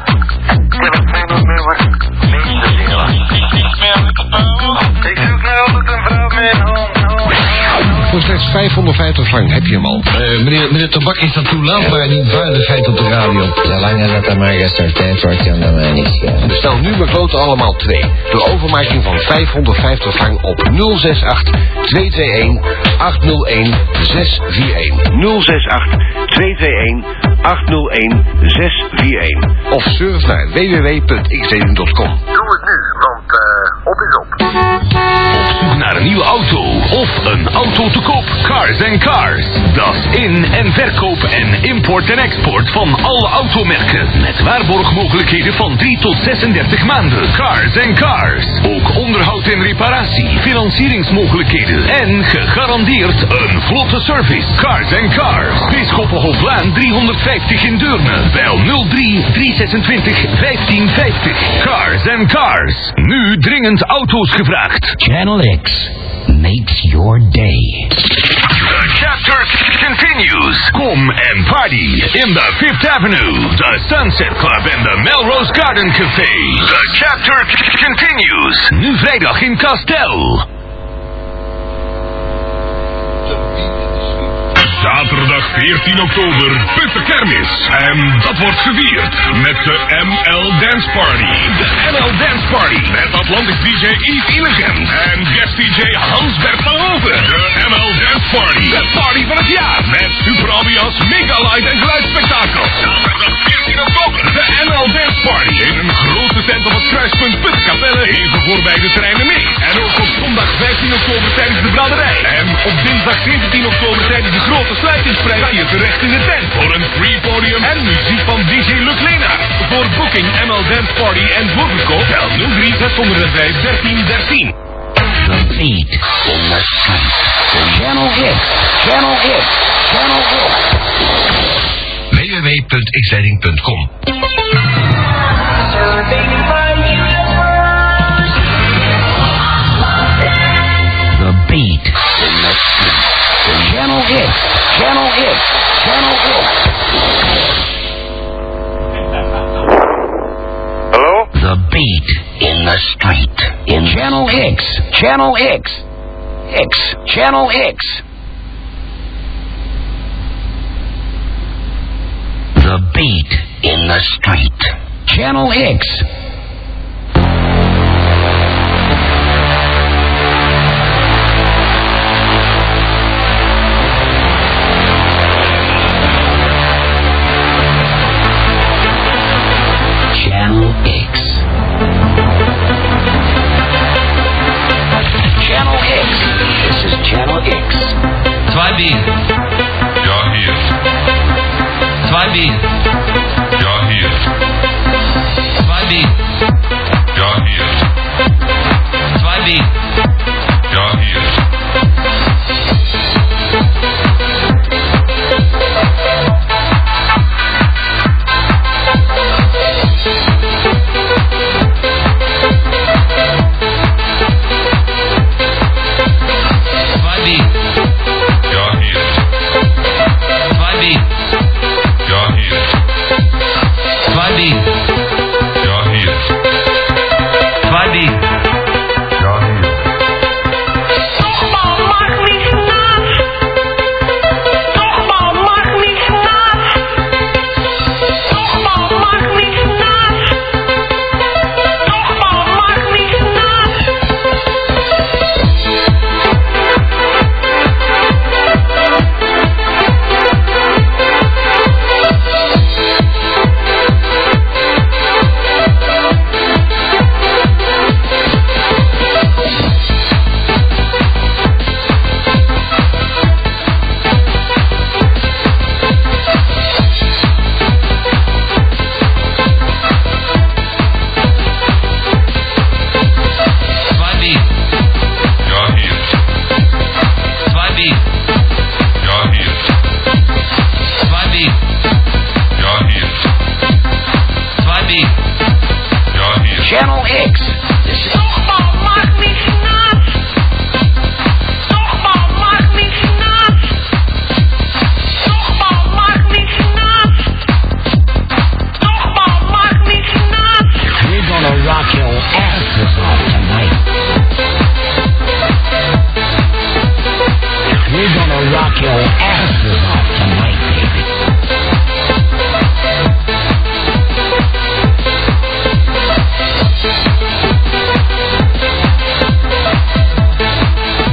G: Ik zoek nu altijd een vrouw met
A: Voor slechts 550 frank heb je hem al.
J: Uh, meneer, meneer Tabak, is dat toelaatbaar? Die vuiligheid op de radio.
I: Zolang dat dat maar gesorteerd wordt, kan dat mij niks schelen.
A: Bestel nu bekloten allemaal twee. Door overmaking van 550 frank op 068 221 801 641. 068 221 801 641. Of surf naar www.xzeden.com.
H: Doe het nu, want op is op. Op zoek naar een nieuwe auto of een auto te koop. Cars and Cars. Dat is in- en verkoop en import en export van alle automerken. Met waarborgmogelijkheden van 3 tot 36 maanden. Cars and Cars. Ook onderhoud en reparatie, financieringsmogelijkheden en gegarandeerd een vlotte service. Cars and Cars. Bisschoppenhoflaan 350 in Deurne. Bel 03 326 1550. Cars and Cars. Nu dringend auto's gevraagd.
K: Channel X makes your day.
H: The chapter continues. Kom and party in the Fifth Avenue, the Sunset Club and the Melrose Garden Café. The chapter continues. Nu vrijdag in Castel. Zaterdag 14 oktober, Putte Kermis. En dat wordt gevierd met de ML Dance Party. De ML Dance Party met Atlantic DJ Yves Illigem en guest DJ Hans Bert van Hoven. De ML Dance Party. De party van het jaar met super ambiance, mega light en geluidsspektakel. Zaterdag 14 oktober, de ML Dance Party. In een grote tent op het kruispunt Putkapelle, even voorbij de treinen mee. En ook op zondag 15 oktober tijdens de braderij. En op dinsdag 17 oktober tijdens de grote sluitingsprijs kan je terecht in de tent. Voor een free podium en muziek van DJ Luc Leenaar. Voor booking ML Dance Party en voorverkoop bel 03 605 13 13.
K: The beat in the street. Channel X. Channel X. Channel X.
A: www.xleiding.com
K: The beat in the street. Channel X. Channel X. Channel X.
G: Hello?
K: The beat in the street. In Channel X. Channel X. X. Channel X. The beat in the street. Channel X. Channel X. Channel X. This is Channel X.
B: Zwei Bier.
H: Ja, hier.
B: Zwei Bier.
H: Ja, hier.
B: Zwei Bier.
H: Ja, hier.
B: Zwei Bier.
H: Ja, hier.
B: Zwei Bier.
H: Ja, hier.
B: Zwei Bier.
H: Ja, hier.
K: knock your asses off tonight, baby.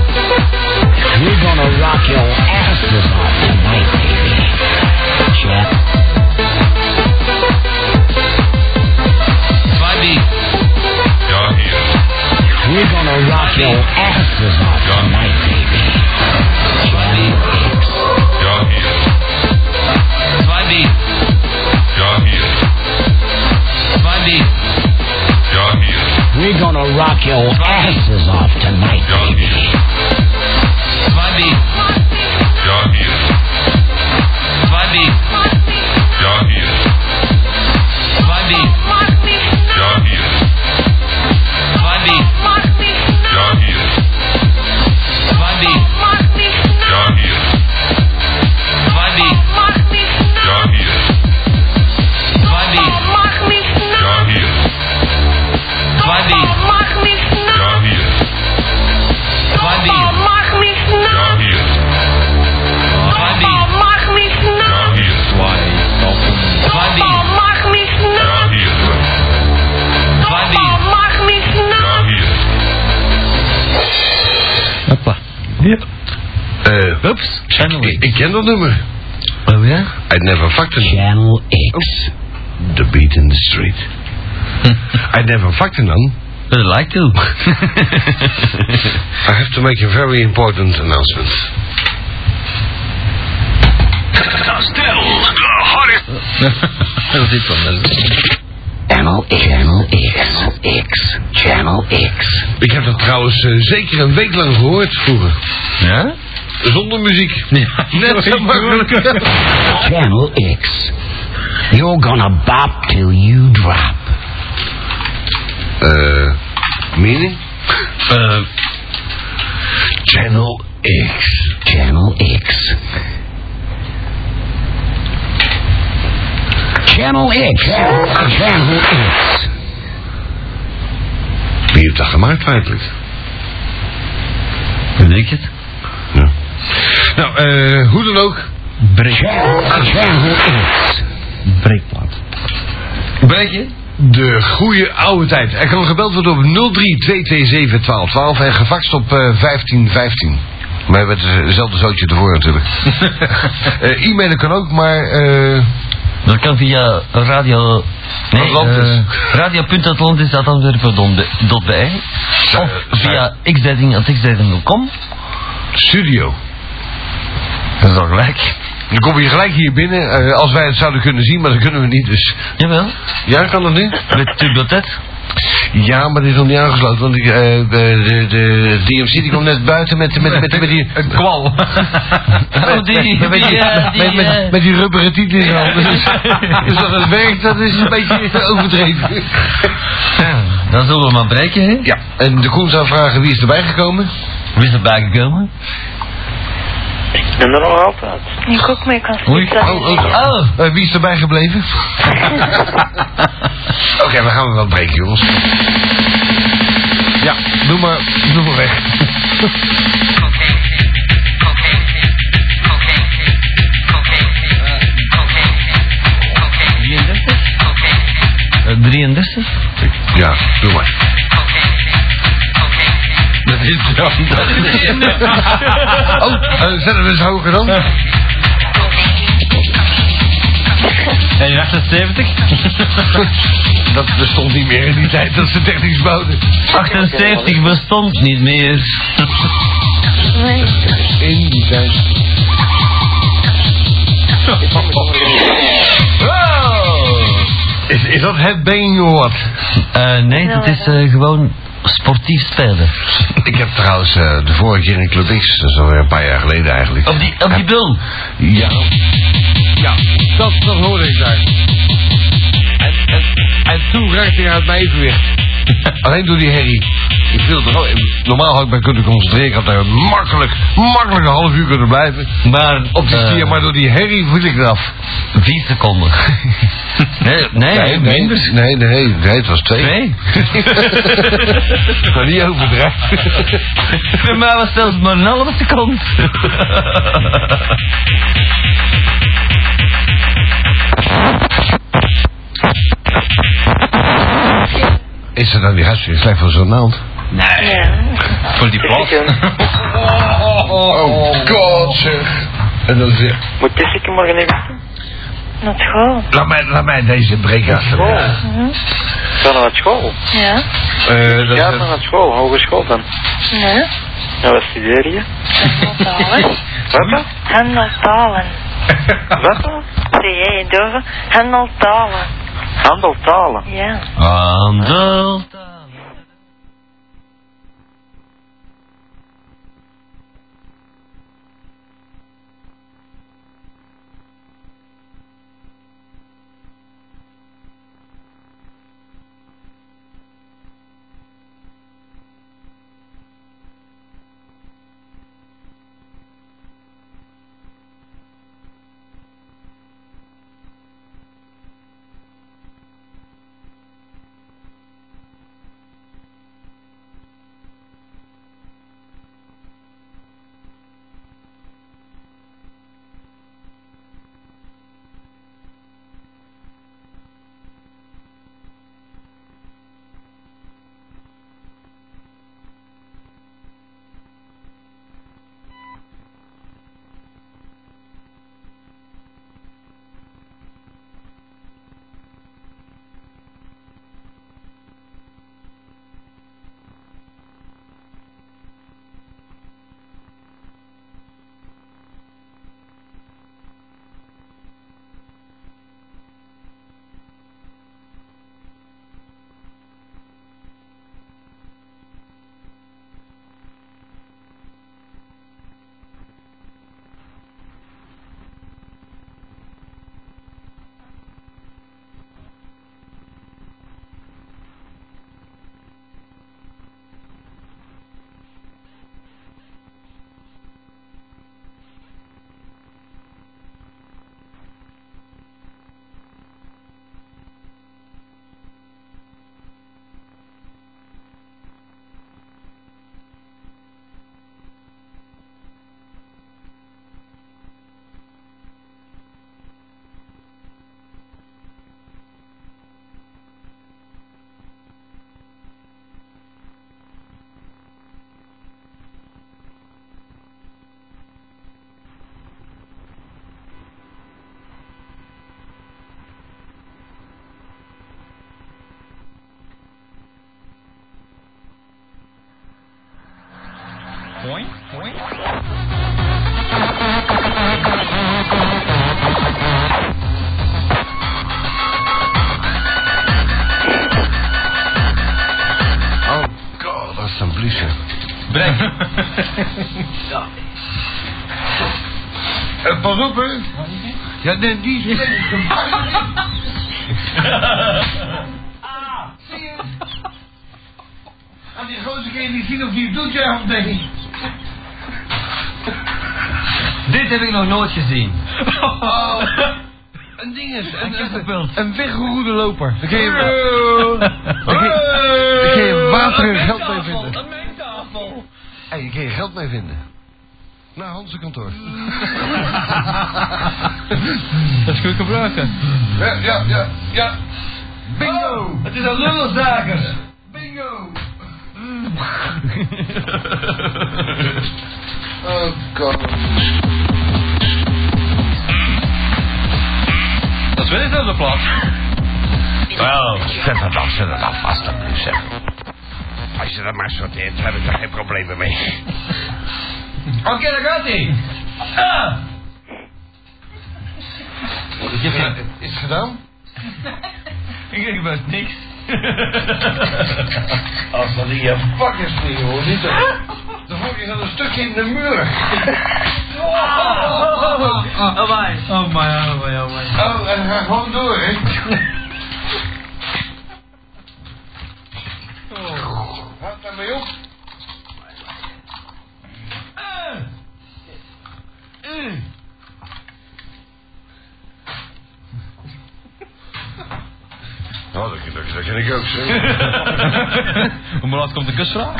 K: You're gonna rock your asses off tonight, baby. Chat.
H: Slidey. Ja, hier.
K: You're gonna rock your asses off tonight, baby. Johnny Hicks.
H: Ja, hier. Slidey. Ja, hier. Slidey. Ja, hier.
K: We're gonna rock your asses off tonight, baby.
H: Slidey. Ja, hier. Slidey. Ja, hier. Slidey. Ja, hier. Slidey. Ja, hier. Slidey. Ja, hier. Slidey. Ja, hier. Slidey. Ja, hier. Slidey. Ja, hier. Slidey. Ja, hier. Slidey. Ja, hier. Slidey. Ja, hier. Slidey. Ja, hier.
B: Hoppa.
A: Yep. Eh, Ups, Channel ik, ik ken dat nummer.
B: Oh ja?
A: I never fucked a
K: Channel X.
A: The beat in the street. I never fucked a nun.
B: I like to.
A: I have to make a very important announcement.
H: Still the hottest.
B: Dat is dit
K: Channel
B: dan.
K: X. Channel X. Channel X.
A: Ik heb dat trouwens eh, zeker een week lang gehoord vroeger.
B: Ja?
A: Zonder muziek.
B: Ja.
A: Net zo makkelijk.
K: Channel X. You're gonna bop till you drop.
A: Eh, meaning?
B: Eh,
A: Channel X.
K: Channel X. Channel X. Channel X.
A: Wie heeft dat gemaakt feitelijk?
B: hoe denk je het?
A: Ja. Nou, eh, hoe dan ook.
K: Channel X.
B: Breekplaat.
A: Breek je? De goede oude tijd. Er kan gebeld worden op 032271212 en gefaxt op eh, 1515. Maar met hetzelfde eh, zootje ervoor natuurlijk. Eh, e-mailen kan ook, maar... eh,
B: Dat kan via radio... Nee,
A: Atlantis.
B: eh, radio.atlantis.antwerpen.be Of
A: eh,
B: via xzetting.xzetting.com
A: studio.
B: Dat is al gelijk.
A: Dan kom je gelijk hier binnen, eh, als wij het zouden kunnen zien, maar dat kunnen we niet. Dus
B: Jawel.
A: ja, kan dat niet?
B: Met tublotet.
A: Ja, maar die is nog niet aangesloten, want die, eh, de, de, de DMC die komt net buiten met, met, met, met die...
B: Een kwal. Oh, die, die,
A: Met, met,
B: eh, die,
A: met, met,
B: eh,
A: met die rubberen tiet in zijn handen. Dus, dus dat het werkt, dat is een beetje overdreven.
B: ja, Dan zullen we maar breken, hè?
A: Ja, en de Koen zou vragen wie is erbij gekomen.
B: Wie is erbij gekomen?
C: Ik ben er nog altijd.
D: Ik ook mee kan
B: Oei.
D: zitten.
B: Oh,
A: Eh, wie is erbij gebleven? Oké, we gaan wel breken, jongens. Ja, doe maar, doe maar weg.
B: eh, 33?
A: Ja, doe maar.
B: Dat is dan. Dat is
A: Oh, eh, zet hem eens hoger dan.
B: En 78?
A: Dat bestond niet meer in die tijd dat ze technisch bouwden.
B: 78 bestond niet meer.
A: In die tijd. Is, is dat het been of wat?
B: Eh, nee, dat is eh, gewoon sportief spelen.
A: Ik heb trouwens eh, de vorige keer in Club X, dat is alweer een paar jaar geleden eigenlijk.
B: Op die, op die bul.
A: Ja. Ja, dat, dat hoorde ik daar. En, en, en toen raakte hij uit mijn evenwicht. Alleen door die herrie. Ik viel er al in. Normaal had ik mij kunnen concentreren. Ik had daar makkelijk, makkelijk een half uur kunnen blijven.
B: Maar,
A: Op die
B: eh,
A: stier, maar door die herrie viel ik eraf.
B: Vier seconden. Nee, nee, minder.
A: Nee, nee, nee, het was twee.
B: Twee?
A: Maar niet overdrijven.
B: Voor mij was zelfs maar een halve seconde.
A: Is het nou die hartstikke slecht voor zo'n naald?
B: Nee.
E: Voor die plat.
C: eh,
A: Oh god zeg. En dan zeg
C: Moet Jessica morgen even?
D: Naar school.
A: laat mij, laat mij deze breken
C: School.
A: achter.
D: Mhm.
C: Ga dan naar school.
D: Ja.
A: Eh, dat-
C: Ja, dan naar school. Hogeschool dan.
D: Nee.
C: Ja, wat studeer je?
D: Handelsalen.
C: Wat dan?
D: Handeltalen.
C: Wat dan?
D: Zie jij je dove? Handeltalen.
C: Handeltalen.
D: Ja.
B: Aan
A: Ah,
B: de...
A: Oh god, alsjeblieft. zeg.
E: Breng.
A: Eh, pas op hè. Ja, nee, die is...
E: Ah,
J: Als die gozer kan je niet zien of die het doet, ja of nee.
E: Dit heb ik nog nooit gezien.
J: Oh.
A: Een ding is, een,
E: Een
A: een weggeroede loper. Dan kun je,
E: Hey.
A: dan kun je, dan kun je water en
E: Een
A: geld mee
E: mengtafel,
A: vinden.
E: Een mengtafel.
A: Hé, je kun je geld mee vinden. Naar Hanse kantoor.
E: Dat is goed gebruiken.
A: Ja, ja, ja, ja. Oh, Bingo!
E: Het is een lullenzaker.
A: Bingo! oh god.
E: Dat is wel dezelfde plaat.
A: Wel, zet dat af, zet dat af, alsjeblieft zeg. Als je dat maar sorteert, heb ik daar geen problemen mee.
E: Oké, daar gaat hij. Ah.
A: Is het gedaan?
E: Ik denk best niks.
A: Als dat in je pak is vliegen, hoor, niet dan. Dan word je dan een stukje in de muur.
E: Oh my, oh my, oh my, oh my.
A: Oh, en ga gewoon door, hè. Nou, dat, dat, dat ken ik ook zo.
E: Hoe laat komt de kusvraag?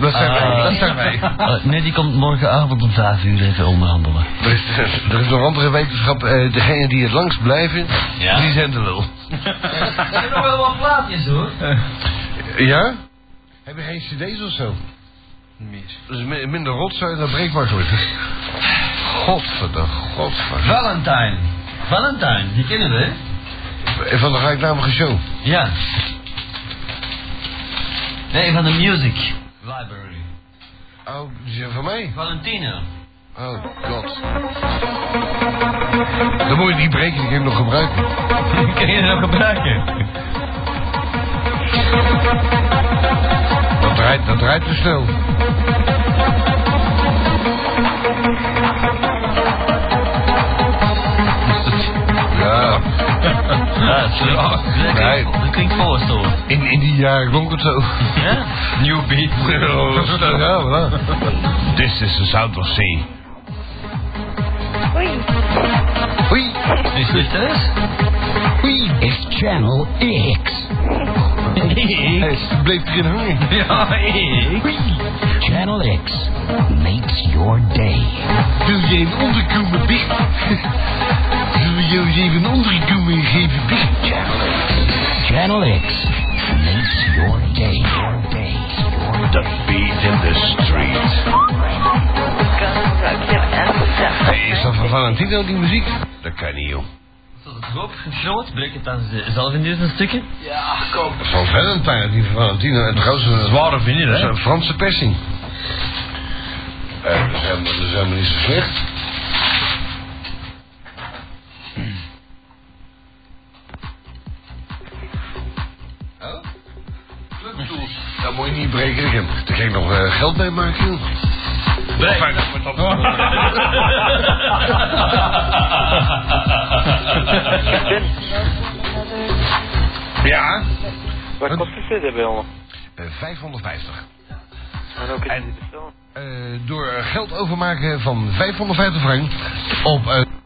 A: Dat zijn wij,
B: Eh,
A: dat zijn wij.
E: Ah.
B: eh, nee, die komt morgenavond om 5 uur even onderhandelen.
A: Er is, er is nog andere wetenschap. eh degene die het langst blijven,
B: Ja.
A: die zijn de lul.
E: Ik heb nog wel wat plaatjes hoor.
B: Eh.
A: Ja? Heb je geen cd's of zo? Dus mi- minder rotzooi, dat breekt makkelijk. Godverdomme, godverdomme.
B: Valentine. Valentine, die kennen we. hè?
A: En Van de gelijknamige show.
B: Ja. Nee, van de Music Library.
A: Oh, die zijn van mij?
B: Valentino.
A: Oh, god. Dan moet je niet breken, die kan je nog gebruiken.
E: Kun je dat gebruiken?
A: Dat draait, dat draait te snel. Ja,
B: Ja, dat klinkt, dat
A: Nee.
B: klinkt, dat klinkt volgens hoor.
A: in, in die jaren klonk het zo.
B: Ja?
E: New beat.
A: Ja, voilà.
H: This is the sound of sea.
D: Oei.
A: Oei,
B: Is het thuis?
A: oei.
K: It's Channel X.
A: Hij is- bleef erin hangen.
E: Ja,
B: Oh,
E: ik.
K: Channel X makes your day.
A: Wil jij een onderkomen, Big? Zullen we jou eens even een onderkomen geven, Big?
K: Channel X makes your day. Your day. Your
H: The
K: day.
H: beat in the street.
A: Hey, is dat van Valentino, die muziek? Dat kan niet, joh.
B: Tot het groot, groot, breek het dan z- zelf in deze stukken.
A: Van Valentine, die van Valentino. En trouwens, eh, een
E: Zware vinyl,
A: dat is
E: hè?
A: een Franse persing. Eh, dat is helemaal- dat is helemaal niet zo slecht. Oh? Clubtools. Dat moet je niet breken. Ik heb- Daar kan ik nog eh, geld mee maken, joh.
C: Tim,
A: Ja?
C: wat kost de CD bij ons?
A: Eh, 550.
C: En ook
A: En-
C: in de
A: Eh, door geld overmaken van 550 frank op eh,